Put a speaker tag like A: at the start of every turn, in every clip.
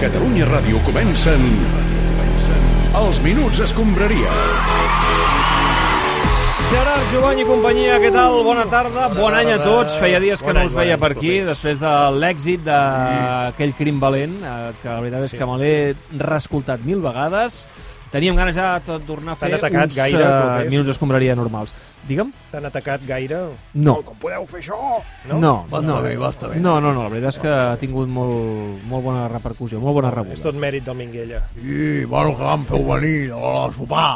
A: Catalunya Ràdio comencen... Els Minuts Escombraria.
B: Gerard, Jovany i companyia, què tal? Bona tarda, bon any a tots. Feia dies que no us veia per aquí, després de l'èxit d'aquell crim valent, eh, que la veritat és que me l'he reescoltat mil vegades. Teníem ganes ja de tot tornar a fer
C: T'han atacat
B: uns
C: gaire,
B: eh,
C: propers?
B: minuts d'escombraria normals. Digue'm?
C: T'han atacat gaire? eh,
B: No.
C: Com podeu fer això?
B: No, no, no, no, no, no, la veritat és que ha tingut molt, molt bona repercussió, molt bona
C: És
B: rebuda.
C: tot mèrit del Minguella.
D: I, bueno, que vam fer venir, hola, a sopar,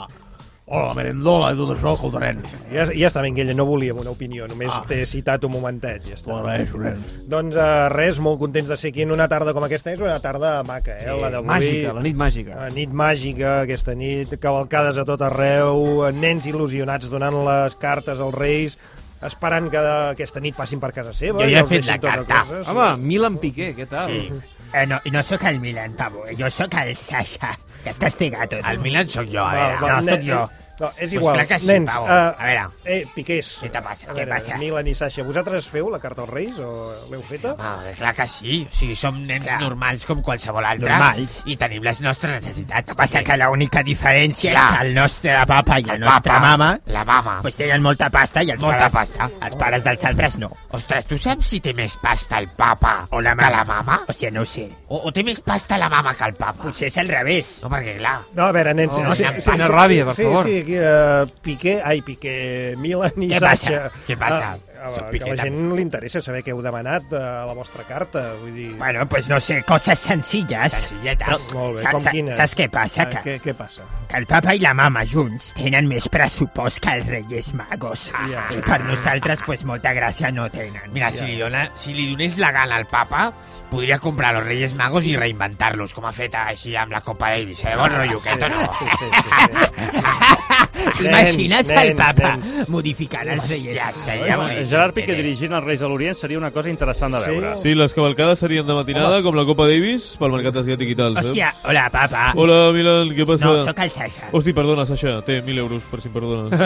D: hola, la merendola i tot això, que ho tenen.
C: Ja, ja està, Minguella, no volíem una opinió, només ah. t'he citat un momentet. Ja
D: T'ho
C: està.
D: agraeixo, nens.
C: Doncs uh, res, molt contents de ser aquí en una tarda com aquesta. És una tarda maca, eh? la d'avui.
B: Màgica, la nit màgica.
C: La nit màgica, aquesta nit, cavalcades a tot arreu, nens il·lusionats donant les cartes als reis, esperant que aquesta nit passin per casa seva.
E: Jo
C: i
E: ja he
C: els
E: fet
C: deixin
E: la
C: tota
E: carta.
C: cosa. Sí.
B: Home, Milan Piqué, què tal?
E: Sí. Eh, no, no sóc el Milan, Pavo, jo sóc el Sasha, que està estigat. tot.
D: El Milan sóc jo,
C: Va,
D: eh?
C: va,
E: no,
C: nen-
E: sóc jo.
C: No, és
E: Pues
C: igual.
E: clar que sí,
C: Nens,
E: Pau.
C: eh,
E: A ah. veure.
C: Eh, Piqués.
E: Què te passa?
C: A
E: Què passa?
C: Milan i Sasha, vosaltres feu la carta als Reis o l'heu feta?
E: Home, clar que sí, o sigui, som nens clar. normals com qualsevol altre
C: Normals.
E: i tenim les nostres necessitats.
F: que passa que l'única diferència
E: Clar.
F: és que el nostre papa i la nostra mama
E: La mama.
F: pues tenen molta pasta i els
E: Molta
F: pares,
E: pasta.
F: els pares dels altres no.
E: Ostres, tu saps si té més pasta el papa
F: O la
E: que
F: mama.
E: la mama?
F: O sigui, no ho sé.
E: O, o té més pasta la mama que el papa?
F: Potser és al revés.
E: No, perquè clar,
C: No, a veure, nens...
B: Oh, quina ràbia, per
C: sí,
B: favor.
C: Sí, sí, uh, Piqué... Ai, Piqué, Milan i
E: Què
C: Sasha.
E: passa? Què passa?
C: Ah,
E: Soc
C: ah, que
E: Piqué,
C: la gent li interessa saber què heu demanat eh, a la vostra carta, vull dir...
F: Bueno, pues no sé, coses senzilles.
E: senzilletes.
F: Però-
C: Molt bé,
F: saps-
C: com
F: saps-
C: quines?
F: Saps què passa?
B: Eh,
F: Que,
B: Què, què passa?
F: que el papa i la mama junts tenen més pressupost que els Reyes Magos.
C: Ja.
F: I per nosaltres, pues molta gràcia no tenen.
E: Mira, si li, dona, si li donés la gana al papa, podria comprar los Reyes Magos i reinventar-los, com ha fet així amb la Copa Davis. Eh?
F: Ah,
E: Bon rotllo,
C: Sí,
E: aquest o no?
C: sí, sí, sí, sí.
F: T'imagines
C: Nens,
F: el papa
C: nens.
F: modificant els Reyes
E: Hòstia,
F: Magos?
E: seria boníssim.
G: Gerard
F: Eh,
G: Piqué dirigint els Reis a l'Orient seria una cosa interessant de
C: Sí?
G: veure.
H: Sí, les cavalcades serien de matinada, com la Copa Davis, pel mercat asiàtic i tal.
F: Hòstia, hola, papa.
H: Eh? Hola, Milan, què passa?
F: No, sóc el Sasha.
H: Hosti, perdona, Sasha, té 1.000 euros, per si em perdones.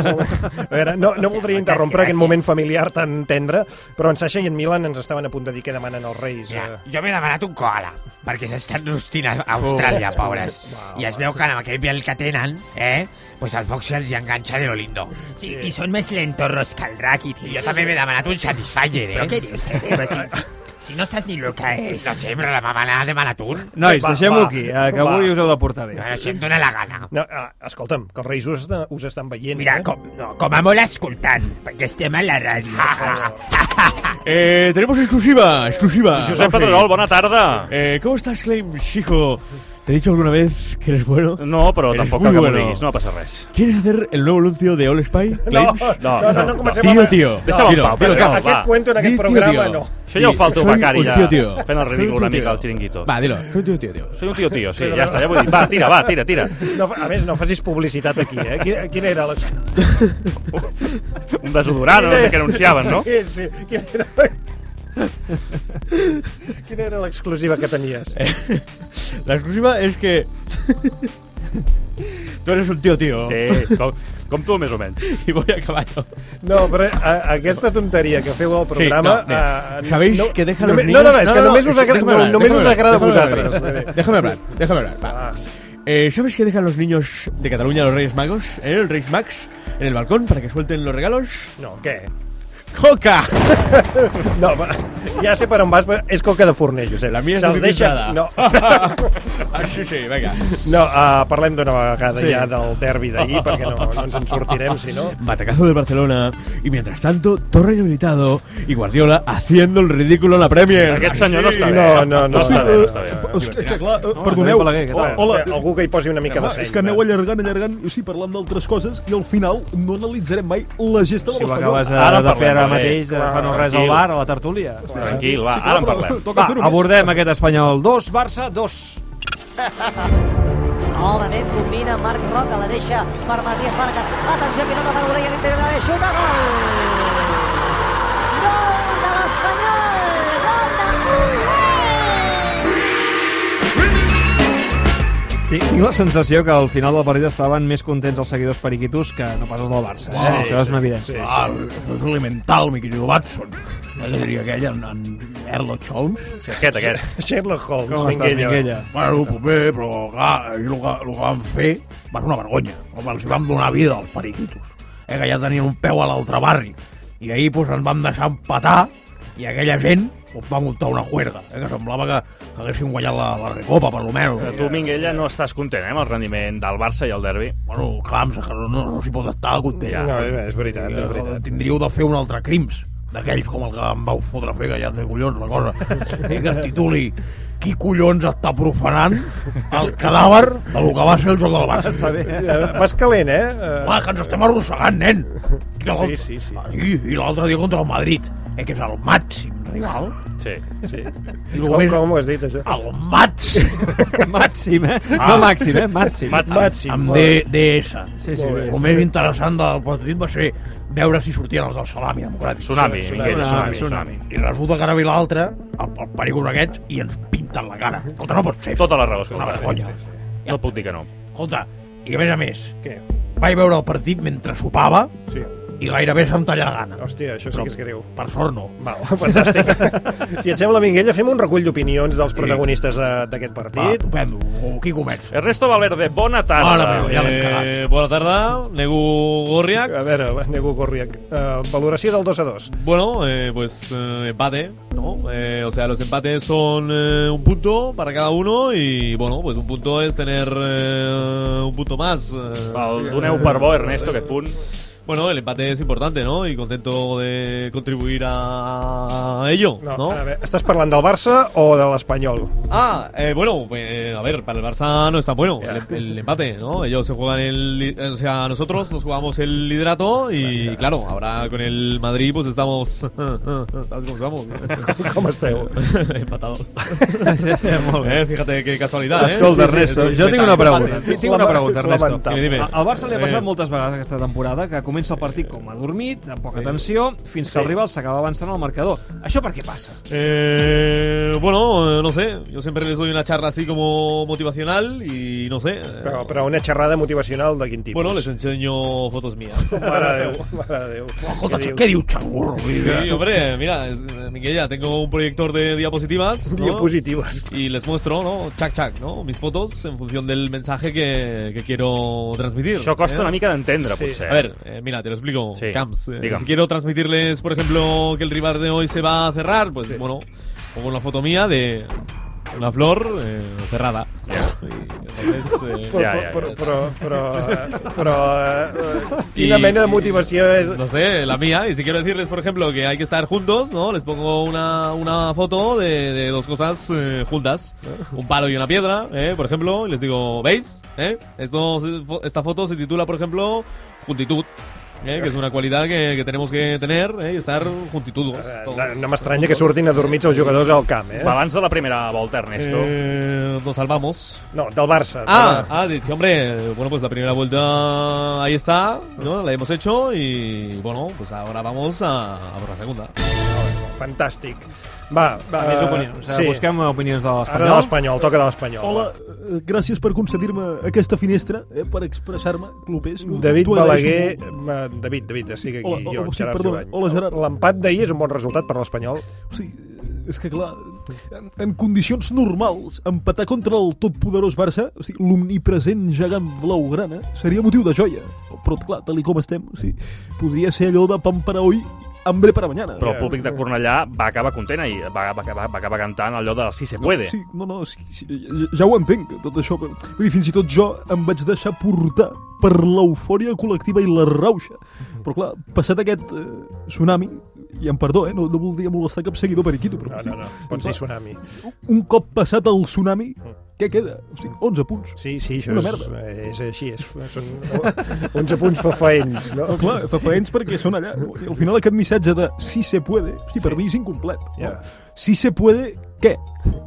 C: A veure, no, no voldria interrompre aquest moment familiar tan tendre, però en Sasha i en Milan ens estaven a punt de dir què demanen els Reis.
E: Mira,
C: eh.
E: jo m'he demanat un koala, perquè s'estan rostint a Austràlia, pobres.
B: Oh.
E: I es veu que amb aquell pèl que tenen, eh, pues el Foxy els hi enganxa de lo lindo.
F: Sí, I són més lentorros que el Rakitic.
E: I jo també m'he demanat un Satisfyer, eh?
F: Però què dius? Però si, si, si no saps ni el que és.
E: No sé, però la mama n'ha demanat un.
B: Nois,
C: Va,
B: deixem-ho
C: va,
B: aquí, eh, que avui
C: va.
B: us heu de portar bé.
E: Bueno, si em dóna la gana.
C: No, ah, escolta'm, que els Reis us, estan- us estan veient.
F: Mira,
C: eh?
F: com, no, com a molt escoltant, perquè estem a la
C: Ah,
F: ràdio.
H: eh, tenemos exclusiva, exclusiva.
G: Josep Pedrerol, bona tarda.
H: Eh, ¿Cómo estás, Claim, hijo? ¿Te he dicho alguna vez que eres bueno?
G: No, però
H: Eres
G: tampoc
H: muy
G: cal que m'ho
H: bueno.
G: diguis, no passa res.
H: ¿Quieres hacer el nuevo anuncio de All Spy, Claim?
C: No, no, no,
G: No,
C: no, no
G: no,
C: comencem
H: Tío,
C: a...
H: tío.
G: Deixa'm en pau,
H: dilo,
G: però
H: dilo.
G: no,
C: aquest
G: va.
C: cuento en
H: Di,
C: aquest
H: tío,
C: programa
H: tío.
C: no.
G: Això ja ho
H: Sí,
G: fa el teu
H: soy
G: becari,
H: un
G: ja,
H: tío, tío.
G: fent el
H: Soy
G: ridícul
H: un
G: una
H: tío,
G: mica
H: tío.
G: al chiringuito.
H: Va, dilo, soy un tío, tío, tío.
G: Soy un tio tio, sí, ja està, ja ho he dit. Va, tira, va, tira, tira.
C: No, fa- a més, no facis publicitat aquí, eh? Quina, quina era l'excusa?
G: Un desodorant, no sé què anunciaven, no?
C: Sí, sí. Quina era... Quina era l'exclusiva que tenies?
G: Eh.
H: La exclusiva es Eh, que... Tú eres un tío, tío.
G: Sí, com, com tu, més o menys.
H: Y voy a caballo.
C: No, però a, aquesta tonteria que feu al programa...
H: no, mira,
C: eh,
H: sabéis que deja a los
C: només,
H: niños-
C: No, no, no, és
H: No,
C: que
H: no,
C: només us,
H: es que
C: agra...
H: déjame hablar,
C: només
H: déjame
C: us
H: hablar,
C: agrada a
H: déjame hablar.
C: vosaltres. vull dir.
H: Déjame hablar, déjame hablar. va.
C: Ah.
H: Eh, ¿Sabes qué dejan los niños de Cataluña, los Reyes Magos, eh, el Reyes Max, en el balcón para que suelten los regalos?
C: No, què?
H: ¡Coca!
C: No, va, ja sé per on vas, però és coca de forner, Josep.
H: La mía es
C: Se'ls
H: muy
C: deixa...
H: pintada.
C: No,
H: Ah, sí, sí, venga.
C: no uh, parlem d'una vegada sí. ja del derbi d'ahir, perquè no, no ens en sortirem, si no...
H: Batacazo del Barcelona, y mientras tanto, Torre inhabilitado y Guardiola haciendo el ridículo en la
C: Eh,
H: Premier.
G: Aquest senyor no està bé.
C: Ah, No, no, no.
G: No està bé, no està bé.
C: no, no.
I: És que, és que clar, eh,
B: Andreu
I: perdoneu,
B: Balaguer, què tal?
C: Hola. Algú que hi posi una mica de
I: home,
C: seny.
I: és que aneu
C: va.
I: allargant, allargant, i o sigui, parlant d'altres coses, i al final no analitzarem mai la gesta
B: Si
I: de
B: ho
I: l'Espanyol.
B: acabes eh,
G: Ara
B: de fer
G: parlem,
B: ara
G: Balaguer.
B: mateix, eh, fa no res al
G: Tranquil.
B: bar, a la tertúlia.
G: Tranquil, va,
I: Sí, clar,
G: ara en
I: però
G: parlem.
I: Toca
B: Va,
I: fer-ho més.
B: abordem aquest Espanyol 2, Barça 2.
J: Novament combina Marc Roca, la deixa per Matías Vargas. Atenció, pilota per Orella, l'interior de l'àrea, xuta, gol! Gol de l'Espanyol! Gol de Orella!
B: Tinc tinc la sensació que al final del partit estaven més contents els seguidors periquitos que no pas els del Barça. eh? Això és una evidència.
D: Ah, eso es elemental, mi querido Watson. Què diria aquell, en, en Sherlock Holmes? Sí,
G: aquest, aquest.
C: Sherlock Holmes,
G: Com estàs, Minguella? Minguella?
D: Bueno, puc bé, però clar, ells el que, el que van fer va ser una vergonya. Com els hi vam donar vida als periquitos. Eh, que ja tenien un peu a l'altre barri. I ahir pues, ens vam deixar empatar i aquella gent pues, va muntar una juerga, eh, que semblava que, que haguessin guanyat la, la recopa, per lo menos.
G: Però Eh, tu, Minguella, no estàs content, eh, amb el rendiment del Barça i el derbi.
D: Bueno, clar, em sap que no, no, no s'hi pot estar content.
G: Ja. No, és
C: veritat,
D: és veritat. Eh, Tindríeu de fer un altre crims d'aquells com el que em vau fotre a fer, que ja té collons la cosa. I que es tituli qui collons està profanant el cadàver de lo que va ser el joc del Barça.
C: Està bé. Vas calent, eh?
D: Home, que ens estem arrossegant, nen.
C: Sí, sí, sí.
D: I, i l'altre dia contra el Madrid, eh, que és el màxim rival.
G: Sí.
C: sí.
D: I
C: Com, com ho has dit, això?
D: Ah, El màxim. Ah.
B: màxim, eh? No màxim, eh? Màxim.
D: Màxim. Amb D, DS.
B: Sí, sí,
D: Molt bé.
B: bé,
D: El
B: sí.
D: més interessant del partit va ser veure si sortien els del salami democràtic.
G: Tsunami, Miquel, tsunami, tsunami.
D: I resulta que ara ve l'altre, el, el pericos aquests, i ens pinten la cara. Escolta, no pot ser.
G: Tota la raó, escolta.
D: Una vergonya.
G: Sí, sí, No et puc dir que no.
D: Escolta, i a més a més,
C: Què?
D: vaig veure el partit mentre sopava
C: sí.
D: i gairebé se'm talla la gana.
C: Hòstia, això sí que és greu.
D: Per sort no.
C: Val, fantàstic. si et sembla, Minguella, fem un recull d'opinions dels protagonistes de- d'aquest
D: Va,
C: partit.
D: estupendo. O Qui comença?
G: Ernesto Valverde, bona tarda.
D: Mare meva, ja l'hem cagat.
H: Eh, bona tarda, Negu Gorriak.
C: A veure, va, Nego Gorriac, eh, valoració del 2 a 2.
H: Bueno, eh, pues eh, empate, ¿no? Eh, o sea, los empates son eh, un punto para cada uno y, bueno, pues un punto es tener eh, un punto más. eh.
G: El doneu per bo, Ernesto, aquest punt.
H: Bueno, el empate es importante, ¿no? Y contento de contribuir a ello,
C: No,
H: ¿no?
C: a veure, estàs parlant del Barça o de l'Espanyol?
H: Ah, eh, bueno, eh, a ver, para el Barça no es tan bueno el, el empate, ¿no? Ellos se juegan el... li- eh, O sea, nosotros nos jugamos el liderato y, claro, ahora con el Madrid pues estamos... ¿Sabes cómo estamos?
C: Com esteu?
H: Empatados. Molt bé, fíjate que casualidad, eh?
B: Escolta,
H: Sí, sí,
B: Ernesto,
H: sí, sí,
B: jo tinc una
H: empate.
B: pregunta. Tinc una pregunta, Ernesto.
C: Lamentable.
H: Dime, dime.
B: Al Barça li ha
H: Eh.
B: passat moltes vegades aquesta temporada que comença el partit com adormit, amb poca tensió, fins que el rival s'acaba avançant al marcador. Això per què passa?
H: Eh, bueno, eh, no sé, yo siempre les doy una charla así como motivacional y no sé. eh,
C: Però, però una xerrada motivacional de quin tipus?
H: bueno, les enseño fotos mías.
C: Mare de Déu, mare de Déu.
D: Escolta, què diu Xangurro? Vull dir
H: Sí,
D: que-
H: hombre, mira, es- eh, Miquella, tengo un proyector de diapositivas. ¿no?
C: Diapositives.
H: Y les muestro, ¿no? Chac, chac, ¿no? Mis fotos en función del mensaje que, que quiero transmitir.
G: Això costa
H: ¿eh?
G: una mica d'entendre,
C: Sí.
G: potser.
H: A ver, eh, mira, te lo explico,
G: Sí,
H: Camps. Eh,
G: diga.
H: si quiero transmitirles, por ejemplo, que el rival de hoy se va a cerrar, pues bueno, pongo una foto mía de una flor eh, cerrada. Y entonces, eh,
C: Però,
G: Ja, ja, ja.
C: però, però, però, però, però eh, quina mena de motivació és...
H: no sé, la mía. Y si quiero decirles, por ejemplo, que hay que estar juntos, ¿no? Les pongo una, una foto de, de dos cosas eh, juntas. Un palo y una piedra, ¿eh? por ejemplo. Y les digo, ¿veis? ¿Eh? Esto se- fo- esta foto se titula, por ejemplo, Juntitud. ¿eh? Que es una cualidad que, que tenemos que tener ¿eh? y estar juntitud.
C: No, no m'estranya que surtin adormits els jugadors al camp, eh?
G: Balanç de la primera volta, Ernesto.
H: Eh, nos salvamos.
C: No, del Barça.
H: Ah, ah, de- sí, hombre, bueno, pues la primera vuelta ahí está, ¿no? La hemos hecho y bueno, pues ahora vamos a, a por la segunda.
C: Fantàstic. Va,
B: Va,
C: eh,
B: més opinions. Sí. Busquem opinions de
C: Ara de
B: l'Espanyol.
C: l'Espanyol, toca de l'Espanyol.
I: Hola, eh, gràcies per concedir-me aquesta finestra, eh, per expressar-me, clubers.
C: David
I: T'ho agraeixo
C: Balaguer,
I: molt.
C: eh, David, David, estic aquí,
I: Hola,
C: jo,
I: hola, sí,
C: Gerard
I: perdona.
C: Jovany.
I: Hola, Gerard.
C: L'empat d'ahir és un bon resultat per l'Espanyol.
I: O sigui, és que clar, en, en condicions normals, empatar contra el totpoderós Barça, o sigui, l'omnipresent gegant blaugrana, seria motiu de joia. Però clar, tal i com estem, o sigui, podria ser allò de pan para hoy, hambre para mañana.
G: Però el públic de Cornellà va acabar content i va, va, va, va acabar cantant allò de Si se puede.
I: Sí, no, no, sí, sí, ja, ja ho entenc, tot això. Però, vull dir, fins i tot jo em vaig deixar portar per l'eufòria col·lectiva i la rauxa.
C: Mhm.
I: Però clar, passat aquest eh, tsunami, i em perdó, eh, no, no voldria molestar cap seguidor per aquí, però
C: No, no, no, pots dir tsunami. Mm.
I: un cop passat el tsunami, què queda? O sigui, 11 punts.
C: Sí, sí, això
I: Una
C: és, és així, és, són 11 punts fafaents, no?
I: No, clar, fafaents perquè són allà. no? I al final aquest missatge de si se puede, hosti, per mi és incomplet. no?
C: Ja.
I: Si se puede, ¿qué?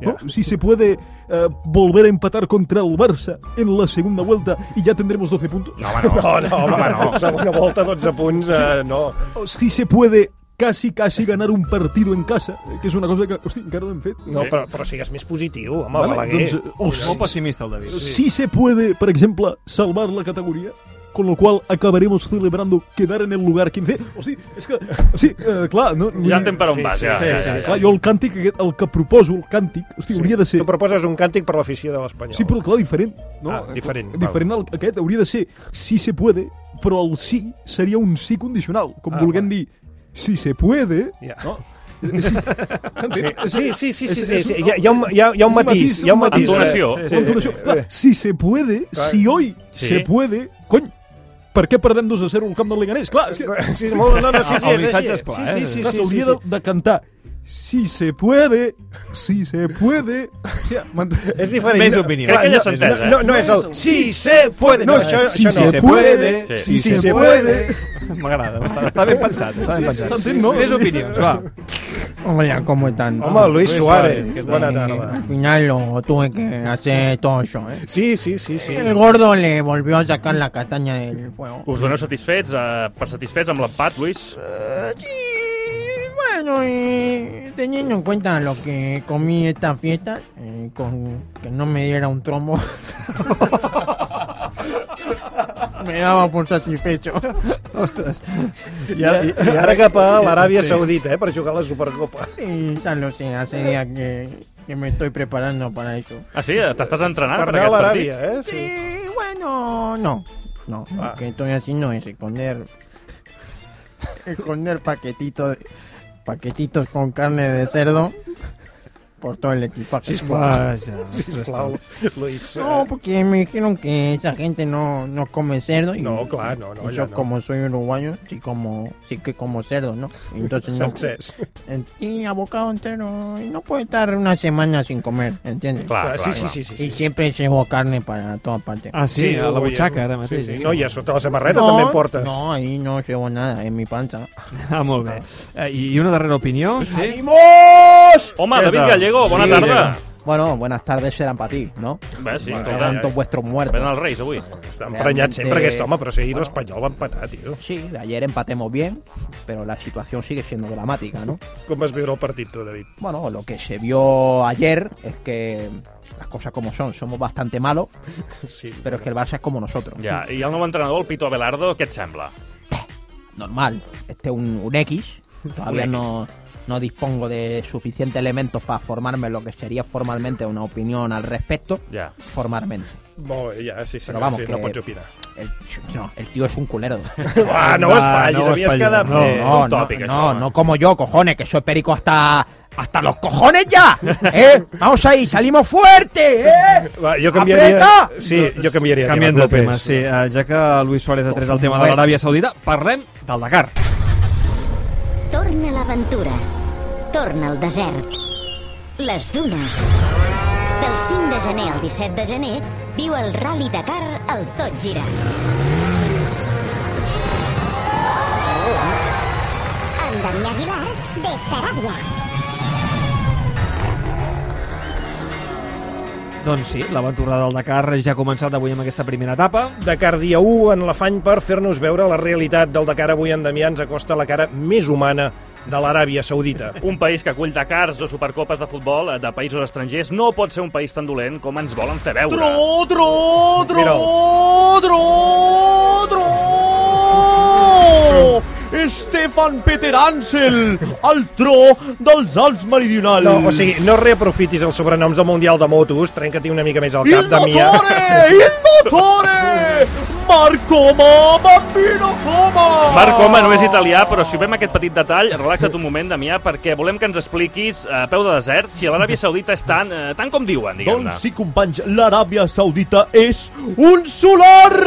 I: ¿No?
C: Ya.
I: Si se puede eh, volver a empatar contra el Barça en la segunda vuelta y ya tendremos 12 puntos.
G: No, home, no.
C: No, no, home, no. Segona volta, 12 punts, eh, no.
I: O si se puede casi, casi ganar un partido en casa, eh, que és una cosa que, hosti, encara no hem fet.
C: No, però, però sigues més positiu, home,
I: Vale,
C: Balaguer.
I: doncs, eh,
B: Molt pessimista, el David.
I: Si se puede, per exemple, salvar la categoria, con lo cual acabaremos celebrando quedar en el lugar 15. O sigui, és que... O sigui, eh, clar, no?
G: Ja entenc per on Sí, vas, sí, ja, sí, ja, sí, ja. sí.
I: Clar, jo el càntic, aquest, el que proposo, el càntic, hosti, sí. hauria de ser...
C: Tu proposes un càntic per l'afició de l'Espanyol.
I: Sí, però clar, diferent. No?
C: Ah, diferent,
I: Diferent al, aquest, hauria de ser si se puede, però el sí seria un sí condicional, com
C: Ah,
I: ah, vulguem dir si se puede,
C: Ja.
I: no?
C: Sí, sí, sí, sí, sí, sí, sí. Hi ha- hi ha un- hi ha- hi ha un matís, hi ha un matís.
I: Entonació.
C: Sí, sí, sí.
I: Entonació. Clar, si se puede,
C: Clar.
I: si hoy
C: Sí.
I: se puede, cony, per què perdem 2 a 0 al camp del Leganés? Clar, és que...
C: Sí, sí, molt- no, no, sí, sí,
I: El
C: és
I: missatge
C: així.
I: és clar,
C: Sí,
I: eh?
C: sí, sí,
I: Clar,
C: sí,
I: s'hauria
C: sí, sí.
I: de, de cantar si se puede, si se puede... O sigui, m'ent-
C: És diferent.
I: Més
C: No,
I: opinió.
C: clar,
I: Crec que ja
C: no,
I: s'entesa, eh?
C: No, no és el sí se puede. No, això,
I: si
C: això no.
I: se puede, Sí. si se puede.
B: M'agrada, està- està ben pensat, està ben pensat.
I: s'entén, no?
B: Més opinions, va.
F: Hola, ¿cómo están?
B: Hola, Luis Luis Suárez. Suárez,
C: ¿qué buena tal? tarde.
F: Al final lo tuve que hacer todo yo, ¿eh?
C: Sí, sí, sí, sí.
F: El gordo le volvió a sacar la castaña del fuego.
G: Us doneu satisfets, eh, per satisfets amb l'empat, Luis?
F: Y bueno, y teniendo en cuenta lo que comí esta fiesta, eh, con que no me diera un trombo, me daba por satisfecho.
C: Ostres. I ara, i ara cap a l'Aràbia Saudita, eh, per jugar a la Supercopa.
F: Sí, ya lo sé, hace días que, que me estoy preparando para eso.
G: Ah, sí? T'estàs entrenant per,
C: Per anar a
G: aquest
C: l'Aràbia,
G: partit?
C: eh? Sí.
F: bueno, no. No,
C: Ah.
F: lo que estoy haciendo es esconder. esconder paquetitos. Paquetitos con carne de cerdo. Por todo el equipaje.
C: Sisplau, Luis. eh,
F: No, porque me dijeron que esa gente no, no come cerdo. Y
C: No, claro, no, no,
F: y
C: ya
F: Yo,
C: no.
F: como soy uruguayo, sí, como, sí que como cerdo, ¿no? Entonces no.
C: Sancés.
F: En- Y abocado entero. Y no puedo estar una semana sin comer, ¿entiendes?
C: Claro, sí, claro, sí, claro. sí, sí, sí.
F: Y siempre llevo carne para toda parte.
B: Ah, sí, a la
C: avui,
B: butxaca,
C: eh?
B: ara mateix,
C: Sí,
B: eh?
C: sí. No, i a sota la samarreta també en portes.
F: No, ahí no llevo nada, en mi panza.
B: Ah, molt bé. Eh, I i una darrera opinió, sí?
F: ¡Vamos!
G: Home, David Gallego, bona tarda.
K: Bueno, buenas tardes serán para ti, ¿no?
G: Bé, sí,
K: Bueno,
G: escolta.
K: tantos vuestros muertos.
G: Venen els Reis, avui.
K: Està
C: Emprenyat sempre aquest home, però sí, l'Espanyol va empatar, tio.
K: Sí, ayer empatemos bien, pero la situación sigue siendo dramática, ¿no?
C: Com vas viure el partit, tu, David?
K: Bueno, lo que se vio ayer es que las cosas como son, somos bastante malos, pero es que el Barça es como nosotros.
G: Ja, i el nou entrenador, el Pito Abelardo, què et sembla?
K: Normal, este es un, un X, todavía
G: Un
K: no, no dispongo de suficientes elementos para formarme lo que sería formalmente una opinión al respecto,
G: Ya.
K: formalmente.
C: Molt bé, ja, sí, sí,
K: Però
C: no,
K: vamos,
C: sí,
K: que-
C: no pues pots opinar.
F: eh,
K: El, no, el tío es un culero.
C: Ah, no espatllis, havies quedat
K: No,
C: bé.
K: no,
C: Un
K: no,
C: tòpic,
K: no, no como yo, cojones, que soy perico hasta... ¡Hasta los cojones ya! ¿eh? ¡Vamos ahí, salimos fuerte! ¿eh?
C: Va, jo canviaria...
K: Apreta!
C: Sí, jo canviaria.
B: Canviem
C: tema,
B: de tema,
C: Clopés.
B: sí. Eh, Ja que Luis Suárez ha tret el tema de l'Aràbia Saudita, parlem del Dakar.
L: Torna a l'aventura. Torna al desert. Les dunes. Del 5 de gener al 17 de gener viu el Rally Dakar al Tot Gira. Amb Damià Aguilar, des d'Aràbia.
B: Doncs sí, l'aventura del Dakar ja ha començat avui amb aquesta primera etapa.
C: Dakar dia 1 en l'afany per fer-nos veure la realitat del Dakar avui en Damià ens acosta la cara més humana de l'Aràbia Saudita.
G: Un país que acull Dakars o supercopes de futbol eh, de països estrangers no pot ser un país tan dolent com ens volen fer veure.
D: Tro, tro, tro, tro, tro! Stefan Peter Ansel, el tro dels Alps Meridionals.
C: No, o sigui, no reaprofitis els sobrenoms del Mundial de Motos, trenca-t'hi una mica més al
D: Il
C: cap, Damià.
D: dottore, il dottore, Marco Ma, bambino Coma.
G: Marc Coma no és italià, però si vem aquest petit detall, relaxa't un moment, Damià, perquè volem que ens expliquis, a peu de desert, si l'Aràbia Saudita és tan, eh, tan com diuen, diguem-ne.
D: Doncs sí, companys, l'Aràbia Saudita és un solar!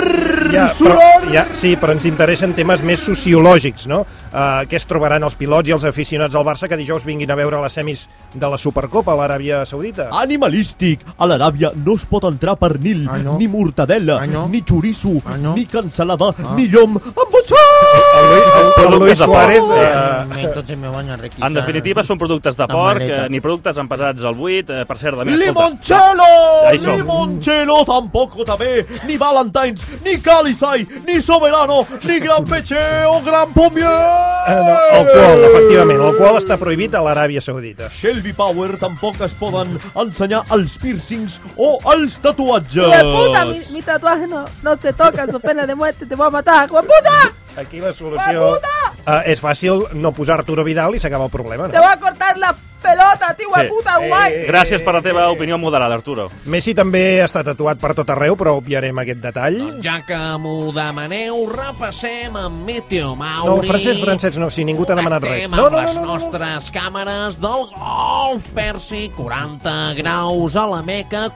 C: Ja, però, ja, sí, però ens interessen temes més sociològics, no? Uh, què es trobaran els pilots i els aficionats del Barça que dijous vinguin a veure les semis de la Supercopa a l'Aràbia Saudita?
D: Animalístic. A l'Aràbia no es pot entrar pernil, ni mortadella, ni xoriço, ni cansalada, ni llom amb
C: El Luis, el, el Luis Suárez...
G: eh,
F: Me- Entonces me van a requisar.
G: En definitiva, són productes de
F: La
G: porc,
F: maleta.
G: eh, ni productes envasats al buit, eh, per cert, de més.
H: ¡Limonchelo!
G: Ahí son.
H: ¡Limonchelo tampoco tamé! ¡Ni Valentine's, ni Calisay, ni Soberano, ni Gran Peche o Gran Pomier!
C: no, alcohol, efectivament. L'alcohol està prohibit a l'Aràbia Saudita.
H: Shelby Power tampoc es poden ensenyar els piercings o els tatuatges.
M: ¡Hueputa! Mi, mi tatuaje no, no se toca, su pena de muerte, te voy a matar. ¡Hueputa!
C: Aquí la solució... Uh, és fàcil no posar Arturo Vidal i s'acaba el problema,
M: Te
C: no?
M: voy a cortar la pelota, tío, hueputa, guay.
G: Eh. Gràcies per la teva opinió moderada, Arturo.
C: Messi també està tatuat per tot arreu, però obviarem aquest detall.
N: Ja que m'ho demaneu, repassem amb Meteo
C: No,
N: Mauri.
C: Francesc, Francesc, no, si ningú t'ha demanat res.
N: Tractem
C: No,
N: amb
C: no,
N: les
C: no, no.
N: nostres càmeres del golf Pèrsic, 40 graus a la Meca,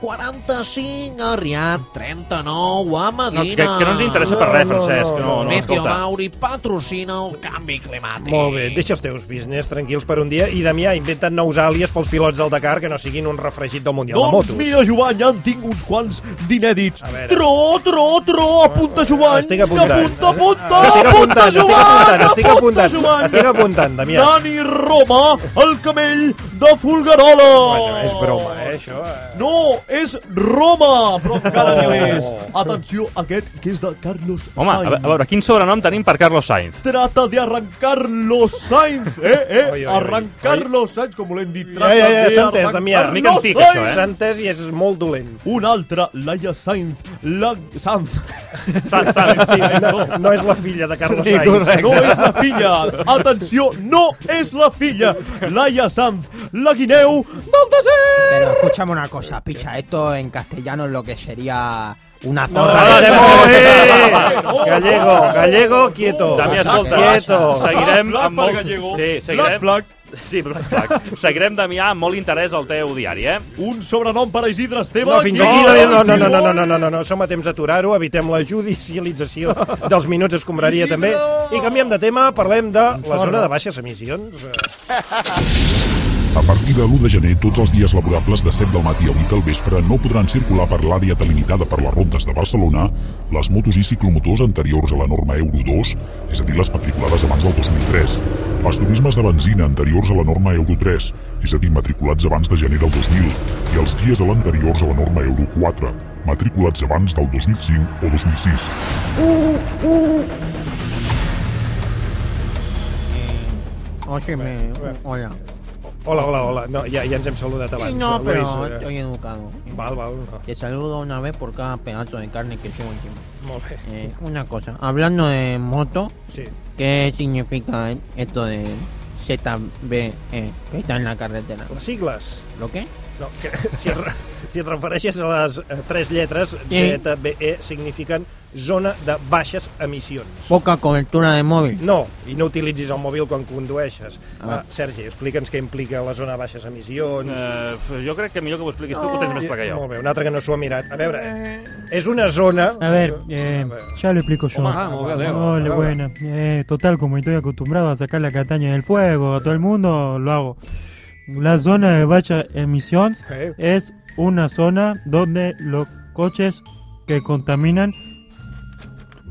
N: 45 a Riad, 39 a Medina.
G: No, que- que no ens interessa per res, No, no, Francesc, no, no, no,
N: Meteo
G: escolta.
N: Mauri patrocina el canvi climàtic.
C: Molt bé, deixa els teus business tranquils per un dia. I, Damià, inventen nous àlies pels pilots del Dakar que no siguin un refregit del Mundial de
H: Doncs
C: Motos.
H: mira, Jovany, ja en tinc uns quants d'inèdits. Tro, tro, tro, apunta, Jovany.
C: Estic apuntant.
H: Apunta, apunta,
C: Estic
H: apunta,
C: apuntant, estic apuntant,
H: Jovany.
C: estic
H: apunta,
C: apuntant,
H: Jovany.
C: estic apuntant, Damià.
H: Dani Roma, el camell de Folguerola. Bueno,
C: és broma, eh, això.
H: No, és Roma, però encara
C: Oh.
H: n'hi ha més. Atenció, aquest que és de Carlos
G: Home, a, ve-
H: Sainz.
G: a veure, quin sobrenom tenim per Carlos Sainz?
H: Trata de arrancar los Sainz, eh, eh,
G: oi, oi.
H: arrancar los Sainz, com volem dir.
C: Ja, ja, ja, s'ha entès, Damià.
H: arrancar
C: Mica
H: los
C: antic, això,
H: Sainz.
C: eh? S'ha entès i és molt dolent.
H: Un altre, Laia Sainz, la... Sanz.
C: Sanz, Sanz. Sí, no- no és la filla de Carlos Sí, Sainz. correcte.
H: No és la filla. Atenció, no és la filla. Laia Sanz, la guineu del desert.
K: Pero escúchame una cosa, picha, esto en castellano es lo que sería una
C: No,
K: zorra.
C: Gallego, eh! Gallego, Gallego, quieto.
G: Damià, escolta,
C: Quieto.
G: seguirem
H: Black
G: amb
H: per
G: molt...
H: Gallego.
G: Sí, seguirem...
H: Black flag.
G: Sí, Black Flag. Seguirem, Damià, amb molt interès al teu diari, eh?
H: Un sobrenom per a Isidre Esteve.
C: No, fins aquí, Damià, no, no, no, no, no, no, no, no, no, som a temps d'aturar-ho, evitem la judicialització dels minuts escombraria també. I canviem de tema, parlem de la zona de baixes emissions.
O: A partir de l'1 de gener, tots els dies laborables de 7 del matí a 8 del vespre no podran circular per l'àrea delimitada per les rondes de Barcelona les motos i ciclomotors anteriors a la norma Euro 2, és a dir, les matriculades abans del 2003, els turismes de benzina anteriors a la norma Euro 3, és a dir, matriculats abans de gener del 2000, i els dies anteriors a la norma Euro 4, matriculats abans del 2005 o 2006.
F: Óyeme, hola.
C: Hola, hola, hola. No, ja, ja ens hem saludat abans.
F: Y no,
C: Luis,
F: pero
C: eh,
F: estoy educado.
C: Val, val.
F: Te saludo una vez por cada pedazo de carne que llevo encima.
C: Molt bé.
F: Eh, una cosa, hablando de moto,
C: Sí.
F: ¿qué significa esto de ZBE que está en la carretera?
C: Les sigles.
F: ¿Lo qué?
C: No, que, si, et, re- si et refereixes a les eh, tres lletres,
F: Sí.
C: ZBE signifiquen zona de baixes emissions.
F: Poca cobertura de móvil.
C: No, i no utilitzis el mòbil quan condueixes. Ah.
F: Ah.
C: Uh, Sergi, explica'ns què implica la zona de baixes emissions. Oh.
G: Eh, f- jo crec que millor que ho expliquis tu, que ho tens més clar que jo.
C: Molt bé, un altre que no s'ho ha mirat. A veure, eh. és una zona... Ah,
P: A ver, eh, ya lo explico yo.
C: Vamos, vamos, dale, vamos,
P: Hola,
C: dale.
P: buena. Eh, total, como estoy acostumbrado a sacar la castaña del fuego a todo el mundo, lo hago. La zona de baja emisión
C: Eh.
P: es una zona donde los coches que contaminan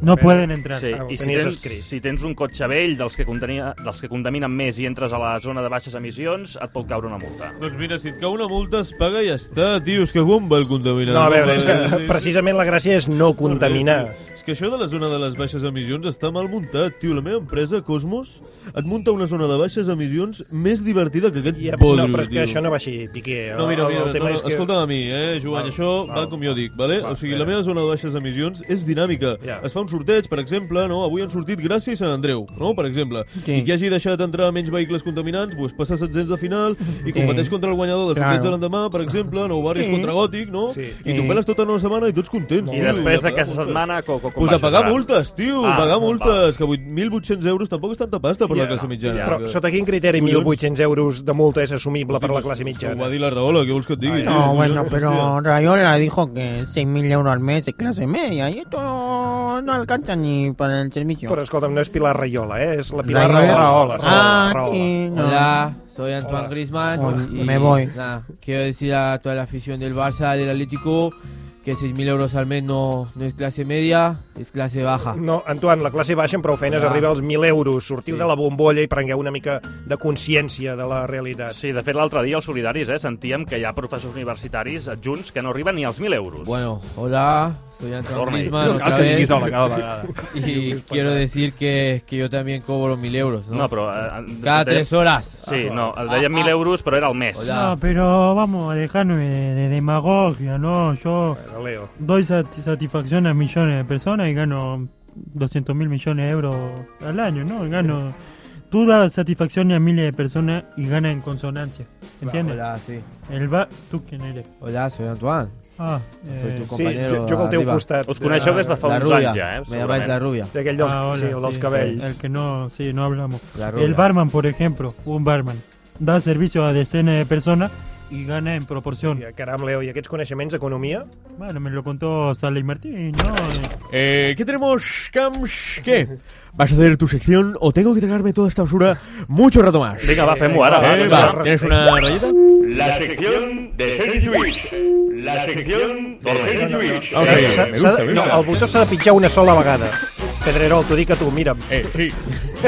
P: no pueden
C: Ah,
P: entrar.
G: Sí, i si tens, si tens un cotxe vell dels que, contenia, dels que contaminen més i entres a la zona de baixes emissions, et pot caure una multa.
H: Doncs mira, si et cau una multa es paga i ja està, tio, és que com va el contaminant?
C: No, a veure,
H: Com
C: és
H: va-
C: que precisament la gràcia és no contaminar.
H: És que això de la zona de les baixes emissions està mal muntat, tio. La meva empresa, Cosmos, et munta una zona de baixes emissions més divertida que aquest
C: Ja,
H: bodrio,
C: no, però és que
H: tio.
C: això no va així, Piqué.
H: No, mira,
C: El-
H: mira,
C: el tema
H: no, no,
C: és que-
H: escolta'm a mi, eh, Joan,
C: Val,
H: això va
C: val,
H: com jo dic, vale?
C: val,
H: o sigui,
C: bé.
H: la meva zona de baixes emissions és dinàmica.
C: Ja.
H: Es fa un sorteig, per exemple, no? avui han sortit Gràcia i Sant Andreu, no? per exemple.
F: Sí.
H: I qui hagi deixat entrar menys vehicles contaminants, doncs passa a setzents de final i
F: Sí.
H: competeix contra el guanyador del
F: Claro.
H: sorteig de l'endemà, per exemple, nou barris
F: Sí.
H: contra gòtic, no?
F: Sí.
H: I t'ho
F: Sí.
H: peles tota una setmana i tots contents.
G: Eh. I
H: tio,
G: després
H: a pagar
G: d'aquesta
H: multes.
G: setmana, co- co- com
H: Pues a
G: vas
H: pagar
G: llorar?
H: multes, tio,
G: Ah,
H: pagar
G: val.
H: multes, que 8.800 euros tampoc és tanta pasta per
C: Ja,
H: la classe
C: no,
H: mitjana.
C: Però sota quin criteri 1.800 euros de multa és assumible per la classe
H: Ho va
C: mitjana?
H: dir la Rahola, què vols que et digui? tio?
F: No, bueno,
H: Collons,
F: pero
H: hòstia.
F: Rayola dijo que 6.000 euros al mes es clase media y esto no alcanza ni para el servicio.
C: Però escolta'm, no és Pilar Rayola, eh? És la Pilar
F: Rahola.
C: Rahola. Rahola,
F: Ah,
C: Rahola.
F: sí, no.
Q: Hola, soy Antoine
F: Hola.
Q: Griezmann.
F: Hola,
Q: y
F: me voy.
Q: nada, quiero decir a toda la afición del Barça, del Atlético, que 6.000 euros al mes no, no es clase media, es clase baja.
C: No, Antoine, la classe baixa amb prou feines
Q: Ah.
C: arriba als 1.000 euros. Sortiu
Q: Sí.
C: de la bombolla i prengueu una mica de consciència de la realitat.
G: Sí, de fet, l'altre dia, els solidaris, eh, sentíem que hi ha professors universitaris adjunts que no arriben ni als 1.000 euros.
Q: Bueno, hola, soy Anton
G: Torna-hi.
Q: Griezmann
G: No
Q: otra
G: cal que
Q: vez.
G: diguis hola cada vegada.
Q: Y quiero decir que, que yo también cobro 1.000 euros, ¿no?
G: No, però... eh,
Q: Cada
G: deia-
Q: 3 horas.
C: Ah,
G: Sí, no, el deien 1.000 euros, però era al mes.
P: No, pero vamos, dejarme de, de demagogia, ¿no? Yo
C: Leo.
P: doy sat- satisfacción a millones de personas y gano 200 mil millones de euros al año, ¿no? Y gano... Tú das satisfacción a miles de personas y ganas en consonancia, ¿entiendes?
Q: Hola, sí.
P: El va... ¿Tú quién eres?
Q: Hola, soy Antoine.
P: Ah,
Q: soy
P: eh,
Q: tu
P: sí,
Q: compañero.
C: jo- jo que el teu
Q: arriba.
C: costat. Us
P: coneixeu des de fa
Q: La
P: uns
Q: rubia.
P: anys ja, eh,
Q: Me llamáis la
P: segurament.
Q: rubia.
C: D'aquell dels-
P: Ah,
C: sí, el dels cabells.
P: el que no, sí, no hablamos.
Q: La rubia.
P: El barman, por ejemplo, un barman, da servicio a decenas de personas y gana en proporción.
C: Caram, Leo, i aquests coneixements d'economia?
P: Bueno, me lo contó Sally Martín, ¿no?
H: Eh, ¿Qué tenemos, Camps? ¿Qué? ¿Vas a hacer tu sección o tengo que tragarme toda esta basura mucho rato más?
G: Vinga, va, fem-ho ara, va,
H: Eh, va,
G: va, respecte.
H: ¿Tienes una rayeta?
R: La sección de Sergi Lluís. La sección de Sergi Lluís.
C: S'ha- s'ha- s'ha de- no, el botó s'ha de pitjar una sola vegada. Pedrerol, t'ho dic a tu, mira'm.
H: Eh, sí.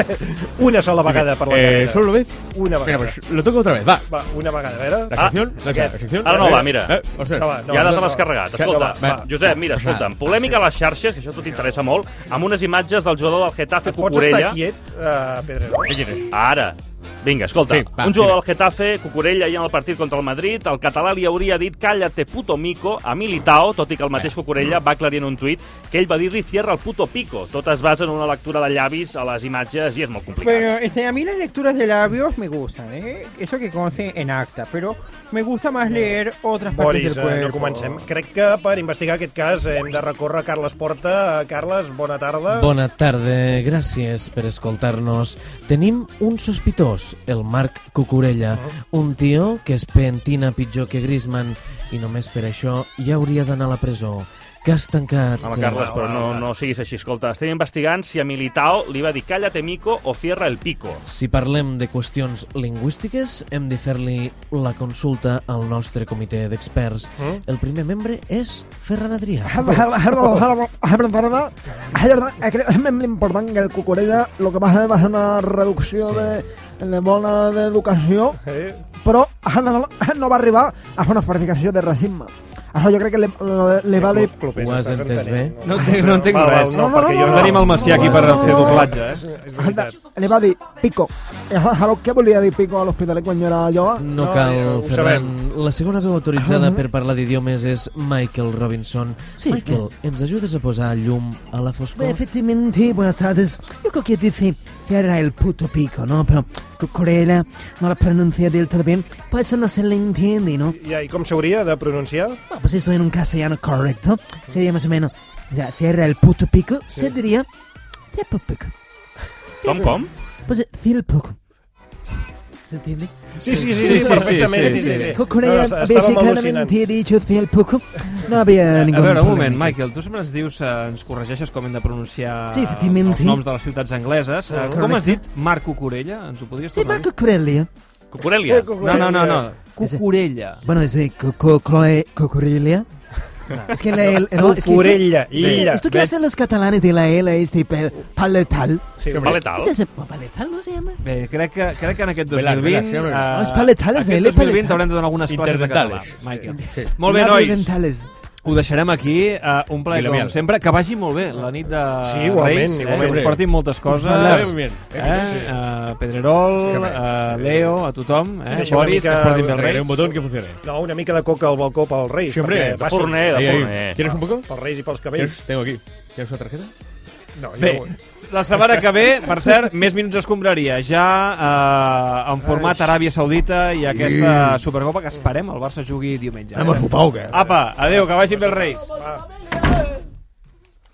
C: una sola vegada per la
H: Eh,
C: carrera.
H: ¿solo vez?
C: Una
H: Venga,
C: vegada.
H: pues lo toco otra vez, va.
C: Va, una vegada, a veure. Ah,
H: La sección, la, la sección.
G: Ara no
H: Eh,
G: va, mira.
H: Eh, ostres.
G: No va, no ja
H: va,
G: te
H: no
G: l'has
H: va.
G: carregat.
H: Que no
G: Escolta,
H: va, va.
G: Josep, mira,
H: Va.
G: escolta'm, polèmica a les xarxes, que això a tu t'interessa molt, amb unes imatges del jugador del Getafe
C: Pots
G: Cucurella.
C: estar quiet, uh, Pedrerol?
G: Ara. Vinga, escolta,
C: Sí, va,
G: un jugador
C: mira.
G: del Getafe, Cucurella, ahir en el partit contra el Madrid, el català li hauria dit cállate puto mico a Militao, tot i que el mateix Cucurella va aclarir en un tuit que ell va dir-li cierra el puto pico. Tot es basa en una lectura de llavis a les imatges i és molt complicat.
F: Bueno, este, a mí las lecturas de labios me gustan, ¿eh? Eso que conoce en acta, pero me gusta más leer otras partes
C: Boris,
F: del
C: eh,
F: cuerpo.
C: no comencem. Crec que per investigar aquest cas hem de recórrer a Carles Porta. Eh, Carles, bona tarda.
S: Bona tarda, gràcies per escoltar-nos. Tenim un sospitós, el Marc Cucurella, un tio que es pentina pitjor que Griezmann i només per això ja hauria d'anar a la presó. Cas tancat.
G: Home, Carles, però no, no siguis així. Escolta, estem investigant si a Militao li va dir cállate mico o cierra el pico.
S: Si parlem de qüestions lingüístiques, hem de fer-li la consulta al nostre comitè d'experts.
F: Mm.
S: El primer membre és Ferran Adrià.
T: eh, Me importa que el Cucurella lo que pasa es una reducció de, de bona d'educació,
C: Eh.
T: però no, no va arribar a fer una fortificació de racisme. Això jo crec que li, li va bé...
S: Ho has entès bé?
Q: No entenc, no entenc
T: Va, va,
Q: res.
T: no, No, perquè no, jo no. no.
B: Tenim el Macià aquí per fer doblatge, eh?
T: Anda, li va dir pico. I això- això Què volia dir pico a l'hospitalet quan jo era jove?
S: No cal, Ferran. La segona veu autoritzada
T: Ah.
S: per parlar d'idiomes és Michael Robinson.
T: Sí,
S: Michael, ens ajudes a posar llum a la
U: Bueno,
S: foscor?
U: Pues efectivamente, buenas tardes. Yo creo que dice que era el puto pico, ¿no? Pero Cucurella no la pronuncia del todo bien, por eso no se le entiende, ¿no?
C: Ja, I com s'hauria de pronunciar?
U: Ah, Pues esto en un castellano correcto sería más o menos, o sea, cierra el puto pico, se diría, cierra el pico.
G: Com, com?
U: Pues cierra el pico. ¿Se entiende?
C: Sí, sí, sí, sí, perfectamente, sí, sí, sí. No,
U: Cucurella,
C: estàvem
U: veces
C: al·lucinant.
U: claramente he dicho cierra el pico, no había
B: Eh, A
U: ningún
B: veure, un moment,
U: problema.
B: Michael, tu sempre ens dius, eh, ens corregeixes com hem de pronunciar
U: Sí, efectivament,
B: els
U: sí.
B: noms de les ciutats angleses. Eh,
U: Correcte.
B: Com has dit? Marco Corella? Ens ho podries
U: Sí,
B: tornar
U: Marco Eh, Cucurella.
B: a dir? Cucurella? No, no, no, no. Cucurella.
U: Bueno, es de Cocoe Cocorilla. Es que la L.
C: No, Cucurella,
U: es que
C: illa.
U: Esto que hacen
C: Ves?
U: los catalanes de la L es de pal- paletal.
C: Sí,
U: ¿Es ese paletal no se llama?
B: Bé, crec que, crec que en aquest
U: Vela,
B: 2020...
U: vela, sí,
B: eh,
U: No, és paletales,
B: aquest
U: eh, les paletales.
B: 2020 t'haurem de donar algunes classes de català,
Q: Interdentales.
B: Michael.
Q: Sí.
B: Molt bé,
U: Interdentales.
B: nois. Ho deixarem aquí, uh, un plaer
Q: Vilamiel.
B: com sempre. Que vagi molt bé la nit de
C: Sí, igualment,
B: Reis.
C: igualment.
B: Eh? Us portin moltes coses.
C: Ojalà.
B: Eh?
C: Bien, bien, sí.
B: Uh, Pedrerol, uh, Leo, a tothom. Eh?
C: Deixa una
B: Boris, que
C: mica-
B: us portin bé els
C: Regaré
B: Reis.
C: un botó
H: que funcione.
C: No, una mica de coca al balcó pel Reis.
H: Sí, hombre,
C: perquè
H: de
C: va ser-
H: forner, de Ahí, ahí. forner. ¿Quieres un poco?
C: Pels Reis i pels cabells.
H: ¿Tienes- Tengo aquí. ¿Tienes una tarjeta?
C: No,
B: Bé,
C: jo...
B: la setmana que ve, per cert, més minuts escombraria. Ja eh, en format Aràbia Saudita i aquesta Supercopa que esperem el Barça jugui diumenge. eh?
D: Anem a sopar o què?
B: Apa, adeu, que vagin bé els Reis.
C: Va.